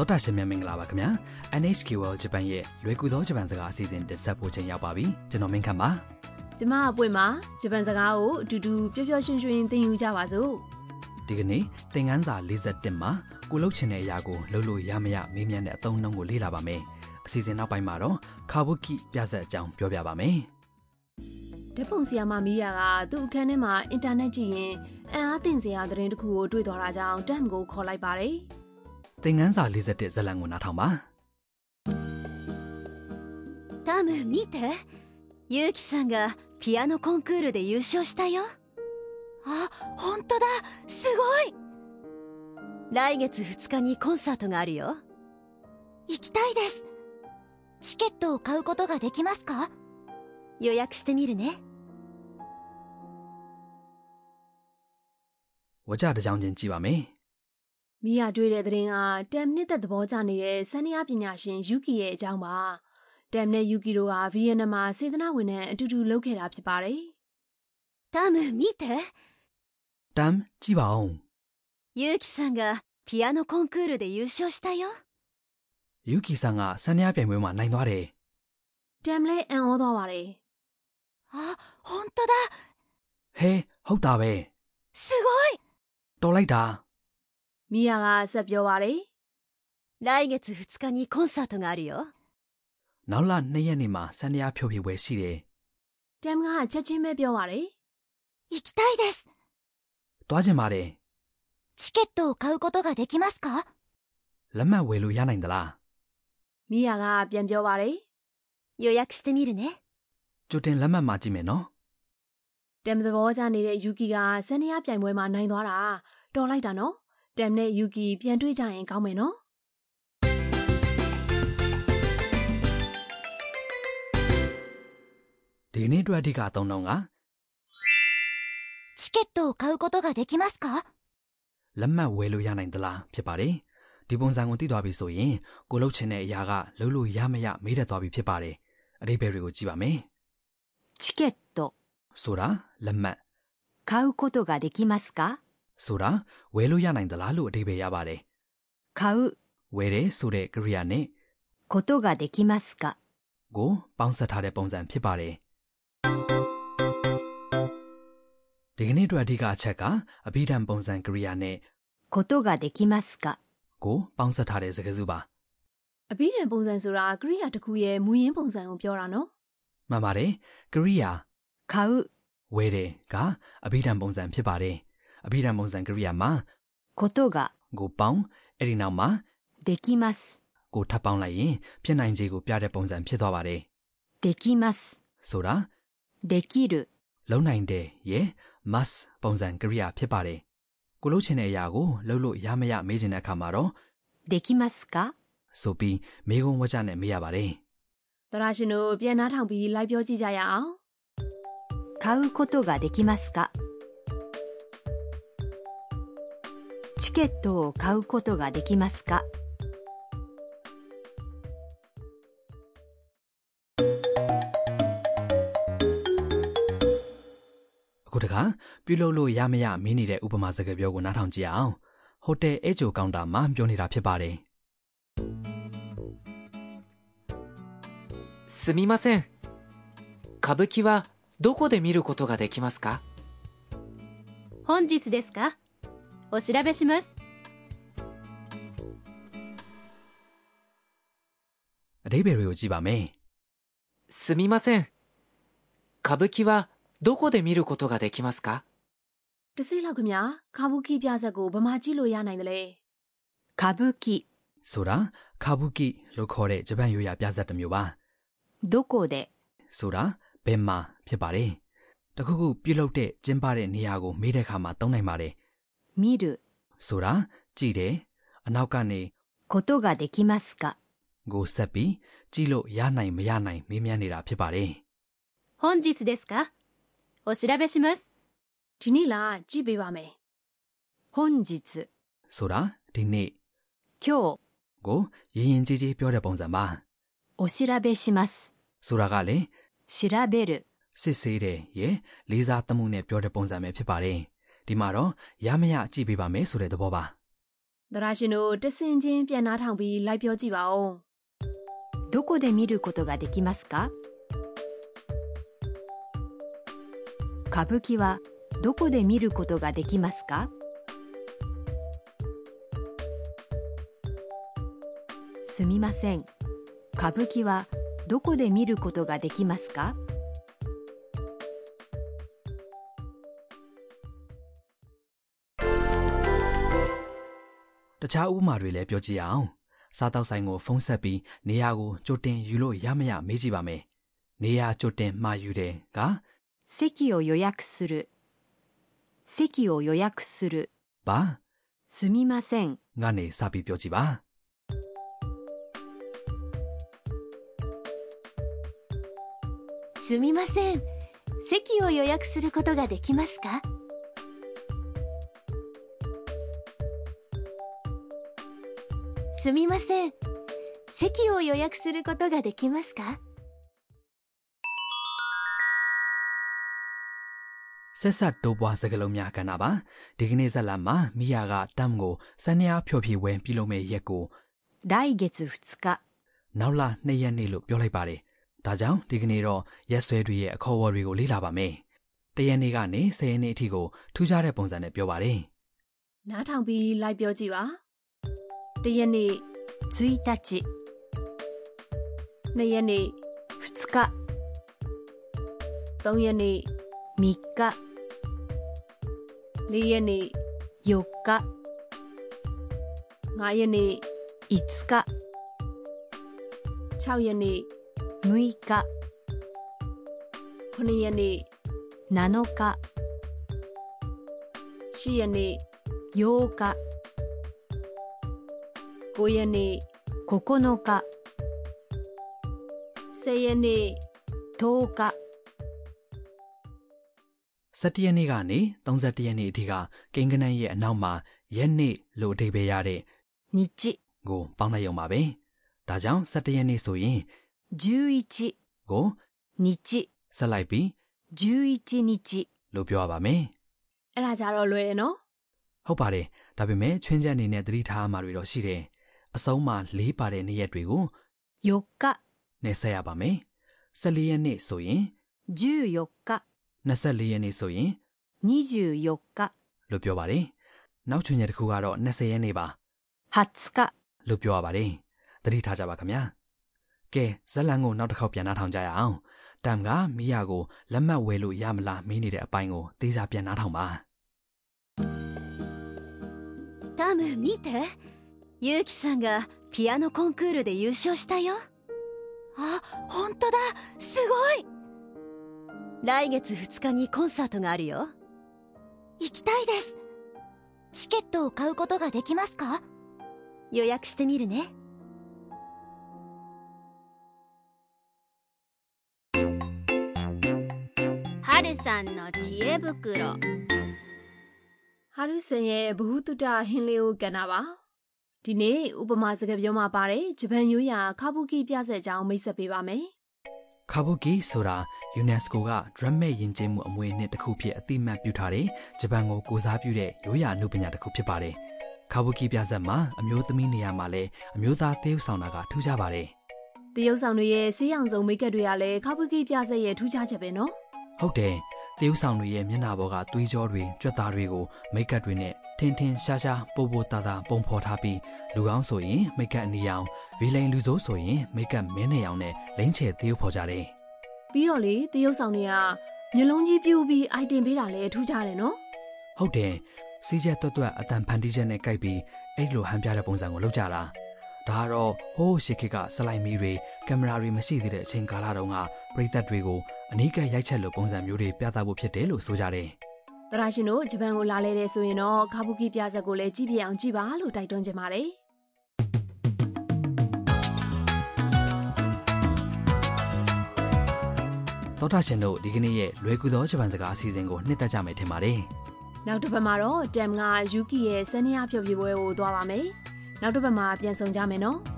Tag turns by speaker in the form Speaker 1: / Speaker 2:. Speaker 1: သောတာရှင်များမင်္ဂလာပါခင်ဗျာ NHK World Japan ရဲ့လွယ်ကူသောဂျပန်စကားအစီအစဉ်တင်ဆက်ဖို့ချိန်ရောက်ပါပြီကျွန်တော်မင်းခမ်းပါ
Speaker 2: ကျမအပွင့်မှာဂျပန်စကားကိုအတူတူပျော်ပျော်ရွှင်ရွှင်သင်ယူကြပါစို့
Speaker 1: ဒီကနေ့သင်ခန်းစာ41မှာကိုလုတ်ချင်တဲ့အရာကိုလုပ်လို့ရမရမေးမြန်းတဲ့အသုံးအနှုန်းကိုလေ့လာပါမယ်အစီအစဉ်နောက်ပိုင်းမှာတော့ Kabuki ပြဆက်အကြောင်းပြောပြပါမယ်
Speaker 2: ဓပုံဆီယာမမီးယာကသူ့အခန်းထဲမှာအင်တာနက်ကြည့်ရင်အံအားသင့်စရာသတင်းတစ်ခုကိုတွေ့သွားတာကြောင့်တမ်ကိုခေါ်လိုက်ပါတယ်
Speaker 1: သင်ခန်းစာ41ဇာတ်လမ်းကိုနားထောင်ပါ
Speaker 3: タム見てユウキさんがピアノコンクールで優勝したよあ本当だすごい来月2日にコンサートがあるよ行きたいですチケットを買うことができますか予約してみるね
Speaker 1: ဝါကြတစ်ကြောင်ချင်းကြည့်ပါမယ်
Speaker 2: မီးယာတွေ့တဲ့သတင်းကတမ်နှစ်သက်သဘောကျနေတဲ့ဆန်နီယာပညာရှင်ယူကီရဲ့အကြောင်းပါတမ်နဲ့ယူကီတို့ကဗီယက်နမ်မှာစေတနာဝန်ထမ်းအတူတူလုပ်ခဲ့တာဖြစ်ပါတယ်
Speaker 3: タム見て
Speaker 1: တမ်ကြည့်ပါအောင်
Speaker 3: ユウキさんがピアノコンクールで優勝したよ
Speaker 1: ယူကီဆန်ကဆန်နရားပြိုင်ပွဲမှာနိုင်သွားတယ်
Speaker 2: တမ်လည်းအံ့ဩသွားပါတယ်
Speaker 3: あ本当だ
Speaker 1: ဟဲဟုတ်တာပဲ
Speaker 3: すごい
Speaker 1: တော်လိုက်တာ
Speaker 2: မီးယာကဆက်ပြောပါတယ်
Speaker 3: 来月2日にコンサートがあるよ
Speaker 1: နောက်လ2ရက်နေ့မှာဆန်နရားဖြိုဖြေပွဲရှိတယ်
Speaker 2: တမ်ကချက်ချင်းပဲပြောပါတယ်
Speaker 3: 行きたいです
Speaker 1: သွားချင်ပါတယ်
Speaker 3: チケットを買うことができますか
Speaker 1: လက်မှတ်ဝယ်လို့ရနိုင်သလား
Speaker 2: မီးယာကပြန်ပြောပါတယ်
Speaker 3: 予約してみるね。
Speaker 1: ကြိုတင်လက်မှတ်မှာကြည့်မယ်နော်
Speaker 2: တမ်သဘောကျနေတဲ့ယူကီကဆန်နီယာပြိုင်ပွဲမှာနိုင်သွားတာတော်လိုက်တာနော်တမ်နဲ့ယူကီပြန်တွေ့ကြရင်ကောင်းမယ်နော်
Speaker 1: ဒီနေ့အတွက်အဓိကအသုံးနှုန်းက
Speaker 3: チケットを買うことができますか
Speaker 1: လက်မှတ်ဝယ်လို့ရနိုင်သလားဖြစ်ပါတယ်ဒီပုံစံကိုသိသွားပြီဆိုရင်ကိုလုတ်ချင်တဲ့အရာကလုံးလို့ရမရမေးတတ်သွားပြီဖြစ်ပါတယ်အတိပ္ပယ်တွေကိုကြည့်ပါမယ်
Speaker 3: チケット、
Speaker 1: ဆိုတာလက်မှတ်
Speaker 3: 買うことができますか
Speaker 1: ဆိုတာဝယ်လို့ရနိုင်သလားလို့အတိပ္ပယ်ရပါတယ်
Speaker 3: 買う
Speaker 1: ဝယ်တယ်ဆိုတဲ့ကိရိယာနဲ့
Speaker 3: ことができますか
Speaker 1: ကိုပေါင်းစပ်ထားတဲ့ပုံစံဖြစ်ပါတယ်ဒီကနေ့အတွက်အဓိကအချက်ကအဘိဓမ္မပုံစံကိရိယာနဲ့
Speaker 3: ことができますか
Speaker 1: ကိုပေါင်းစပ်ထားတဲ့စကားစုပါ
Speaker 2: အဘိဓမ္မာန်ပုံစံဆိုတာကရိယာတစ်ခုရဲ့မူရင်းပုံစံကိုပြောတာနော်
Speaker 1: မှန်ပါတယ်ကိရိယာ
Speaker 3: 買う
Speaker 1: ဝဲတယ်ကအဘိဓမ္မာန်ပုံစံဖြစ်ပါတယ်အဘိဓမ္မာန်ပုံစံကရိယာမှာ
Speaker 3: ことが
Speaker 1: ကိုပေါင်းအဲ့ဒီနောက်မှာ
Speaker 3: できます。
Speaker 1: ကိုထပ်ပေါင်းလိုက်ရင်ဖြစ်နိုင်ခြေကိုပြတဲ့ပုံစံဖြစ်သွားပါတယ်
Speaker 3: できます。
Speaker 1: ဆိုတာ
Speaker 3: できる。
Speaker 1: လုံနိုင်တယ်ရယ် must ပုံစံကရိယာဖြစ်ပါတယ်ကိုလုပ်ချင်တဲ့အရာကိုလုပ်လို့ရမရမေးချင်တဲ့အခါမှာတော့
Speaker 3: できますか
Speaker 1: ဆိုပြီးမေးခွန်းဝါကျနဲ့မေးရပါတယ်
Speaker 2: သရရှင်တို့ပြန်နှားထောင်ပြီးလိုက်ပြောကြည့်ကြရအောင်
Speaker 3: 買うことができますかチケットを買うことができますか
Speaker 1: အခုတခါပြုလုပ်လို့ရမရမေးနေတဲ့ဥပမာစကားပြောကိုနားထောင်ကြည့်အောင်ဟိုတယ်အချိုကောင်တာမှာပြောနေတာဖြစ်ပါတယ်
Speaker 4: すみません歌舞伎はどこで見ることができますか
Speaker 3: 本日ですかお調べします。
Speaker 1: အတိပ္ပယ်တွေကိုကြည့်ပါမယ်
Speaker 4: すみません歌舞伎はどこで見ることができますか
Speaker 2: တစ်စိတ်လောက်ခင်ဗျာကာဘူကီပြဆက်ကိုဗမာကြည့်လို့ရနိုင်တယ်လေ
Speaker 3: 歌舞伎、
Speaker 1: ဆိုတာခါဘူကိလို့ခေါ်တဲ့ဂျပန်ရိုးရာပြဇာတ်တစ်မျိုးပါ
Speaker 3: どこで
Speaker 1: ဆိုတာဘယ်မှာဖြစ်ပါတယ်။တစ်ခုခုပြုတ်လုတဲ့ကျင်းပတဲ့နေရာကိုမေးတဲ့အခါမှာသုံးနိုင်ပါတယ်
Speaker 3: 見る
Speaker 1: ။ဆိုတာကြည့်တယ်။အနောက်ကနေ
Speaker 3: ことができますか
Speaker 1: ကိုဆက်ပြီးကြည့်လို့ရနိုင်မရနိုင်မေးမြန်းနေတာဖြစ်ပါတယ်
Speaker 3: 本日ですかお調べします。
Speaker 2: ဒီနေ့လားကြည့်ပေးပါမယ်
Speaker 3: 本日、
Speaker 1: ။ဆိုတာဒီနေ့
Speaker 3: 今日、
Speaker 1: ကိုရင်ရင်ကြီးကြီးပြောတဲ့ပုံစံပါ
Speaker 3: お調べします。
Speaker 1: ။ဆိုတာကလည်း
Speaker 3: 調べる、
Speaker 1: စစ်ဆေးတယ်ရေလေးစားသမှုနဲ့ပြောတဲ့ပုံစံပဲဖြစ်ပါတယ်။ဒီမှာတော့ရမရကြည့်ပေးပါမယ်ဆိုတဲ့သဘောပါ
Speaker 2: သရရှင်တို့တဆင်ချင်းပြန်နားထောင်ပြီးလိုက်ပြောကြည့်ပါဦး
Speaker 3: どこで見ることができますか歌舞伎はどこで見ることができますかすみません歌舞伎はどこで見ることができますか
Speaker 1: တခြားဥပမာတွေလည်းပြောကြည့်အောင်စားတောက်ဆိုင်ကိုဖုန်းဆက်ပြီးနေရာကိုကြိုတင်ယူလို့ရမရမေးကြည့်ပါမယ်နေရာကြိုတင်မှာယူတယ်က
Speaker 3: 席を予約する席を予約する
Speaker 1: ဘာ
Speaker 3: すみません
Speaker 1: ငါနေစပြီးပြောကြည့်ပါ
Speaker 3: すみません席を予約することができますかすみません席を予約することができますか
Speaker 1: ဆက်ဆက်တိုးပွားစကလုံးများကဏ္ဍပါဒီကနေ့ဇက်လာမှာမိယာကတမ်ကိုစနေအားဖြောဖြေဝဲပြုလုပ်မဲ့ရက်ကို
Speaker 3: 来月2日
Speaker 1: နောက်လာ၂ရက်နေ့လို့ပြောလိုက်ပါတယ်ဒါကြောင့်ဒီကနေ့တော့ရက်ဆွဲတွေရဲ့အခေါ်အဝေါ်တွေကိုလေ့လာပါမယ်တရက်နေ့ကနေ၁၀ရက်နေ့အထိကိုထူးခြားတဲ့ပုံစံနဲ့ပြောပါတယ်
Speaker 2: နားထောင်ပြီးလိုက်ပြောကြည့်ပါ။တစ်ရက်နေ့
Speaker 3: 1日
Speaker 2: နှစ်ရက်နေ့
Speaker 3: 2日
Speaker 2: သုံးရက်နေ့
Speaker 3: 3日
Speaker 2: လေးရက်နေ့
Speaker 3: 4日
Speaker 2: ငါးရက်နေ့
Speaker 3: 5日
Speaker 2: ၆ရက်နေ့
Speaker 3: 6日
Speaker 2: ခုနှစ်ရက်နေ့
Speaker 3: 7日
Speaker 2: ရှစ်ရက်နေ့
Speaker 3: 8日
Speaker 2: ကိုးရက်နေ့
Speaker 3: 9日
Speaker 2: ဆယ်ရက်နေ့
Speaker 3: 10日
Speaker 1: 17ရက်နေ့ကနေ31ရက်နေ့အထိကကိန်းဂဏန်းရဲ့အနောက်မှာရက်နေ့လို့အဓိပ္ပာယ်ရတဲ့
Speaker 3: 日
Speaker 1: ကိုပေါင်းလိုက်ရုံပါပဲ။ဒါကြောင့်17ရက်နေ့ဆိုရင်
Speaker 3: 11
Speaker 1: ကို
Speaker 3: 日
Speaker 1: ဆက်လိုက်ပြီး
Speaker 3: 11日
Speaker 1: လို့ပြောရပါမယ်
Speaker 2: အဲ့ဒါကြတော့လွယ်တယ်နော်
Speaker 1: ။ဟုတ်ပါတယ်။ဒါပေမဲ့ချွင်းချက်အနေနဲ့သတိထားရမှာတွေတော့ရှိတယ်။အဆုံးမှာလေးပါတဲ့နေ့ရက်တွေကို
Speaker 3: 4日
Speaker 1: နှိစက်ရပါမယ်။14ရက်နေ့ဆိုရင်
Speaker 3: 14日
Speaker 1: 24ရက်နေ့ဆိုရင်
Speaker 3: 24日
Speaker 1: လို့ပြောပါတယ်။နောက်ချွင်းချက်တစ်ခုကတော့20ရက်နေ့ပါ
Speaker 3: 20日
Speaker 1: လို့ပြောရပါတယ်။သတိထားကြပါခင်ဗျာ။ကဲဇက်လန်ကိုနောက်တစ်ခေါက်ပြန်နှာထောင်ကြရအောင်။တမ်ကမိယာကိုလက်မှတ်ဝဲလို့ရမလားမေးနေတဲ့အပိုင်းကိုသေချာပြန်နှာထောင်ပါ
Speaker 3: ダム見てユウキさんがピアノコンクールで優勝したよあ本当だすごい来月2日にコンサートがあるよ行きたいですチケットを買うことができますか予約してみるね
Speaker 5: はるさんの知恵袋
Speaker 2: ။ဟာရုဆန်ရဲ့ဘ ഹു တုတဟင်းလေးကိုကန်တာပါ။ဒီနေ့ဥပမာစကားပြောမှာပါတယ်ဂျပန်ရိုးရာခါဘူကိပြဆက်ကြောင်းမိတ်ဆက်ပေးပါမယ်။
Speaker 1: ။ခါဘူကီဆိုတာ UNESCO ကဒရမ်မဲ့ယဉ်ကျေးမှုအမွေအနှစ်တစ်ခုဖြစ်အသိအမှတ်ပြုထားတဲ့ဂျပန်ကိုကိုစားပြုတဲ့ရိုးရာအနုပညာတစ်ခုဖြစ်ပါတယ်။ခါဘူကီပြဇာတ်မှာအမျိုးသမီးနေရာမှာလည်းအမျိုးသားသရုပ်ဆောင်တာကထူးခြားပါတယ်။
Speaker 2: တရုတ်ဆောင်တွေရဲ့ဆေးရောင်စုံမိတ်ကပ်တွေကလည်းခါပကိပြဆက်ရဲ့ထူးခြားချက်ပဲနော်
Speaker 1: ဟုတ်တယ်တရုတ်ဆောင်တွေရဲ့မျက်နှာပေါ်ကသွေးကြောတွေကြွက်သားတွေကိုမိတ်ကပ်တွေနဲ့ထင်ထင်ရှားရှားပိုပိုတာတာပုံဖော်ထားပြီးလူကောင်းဆိုရင်မိတ်ကပ်အနီရောင်ဗီလိန်လူဆိုးဆိုရင်မိတ်ကပ်မင်းနေရောင်နဲ့လိမ့်ချယ်သရုပ်ဖော်ကြတယ်
Speaker 2: ။ပြီးတော့လေတရုတ်ဆောင်တွေကမျိုးလုံးကြီးပြူပြီးအိုက်တင်ပေးတာလည်းထူးခြားတယ်နော်
Speaker 1: ဟုတ်တယ်စီးချက်တွတ်တွတ်အတန်ဖန်တီးချက်နဲ့ကြိုက်ပြီးအဲ့လိုဟန်ပြတဲ့ပုံစံကိုလုပ်ကြတာဒါကတော့ဟိုးရှေခေတ်ကစလိုက်မီတွေကင်မရာတွေမရှိသေးတဲ့အချိန်ကာလတုန်းကပရိသတ်တွေကိုအနီးကပ်ရိုက်ချက်လိုပုံစံမျိုးတွေပြသဖို့ဖြစ်တယ်လို့ဆိုကြတယ်
Speaker 2: ။သရရှင်တို့ဂျပန်ကိုလာလဲတဲ့ဆိုရင်တော့ခါပကိပြဆက်ကိုလည်းကြည့်ပြအောင်ကြည့်ပါလို့တိုက်တွန်းချင်ပါတယ်
Speaker 1: သောတာရှင်တို့ဒီကနေ့ရဲ့လွယ်ကူသောဂျပန်စကားအစီအစဉ်ကိုနှစ်သက်ကြမယ်ထင်ပါတယ်
Speaker 2: ။နောက်တစ်ပတ်မှာတော့တမ်ကယူကီရဲ့ဆန်းရဖြုတ်ပြပွဲကိုသွားပါမယ်။နောက်တစ်ပတ်မှာပြန်ဆောင်ကြမယ်နော်။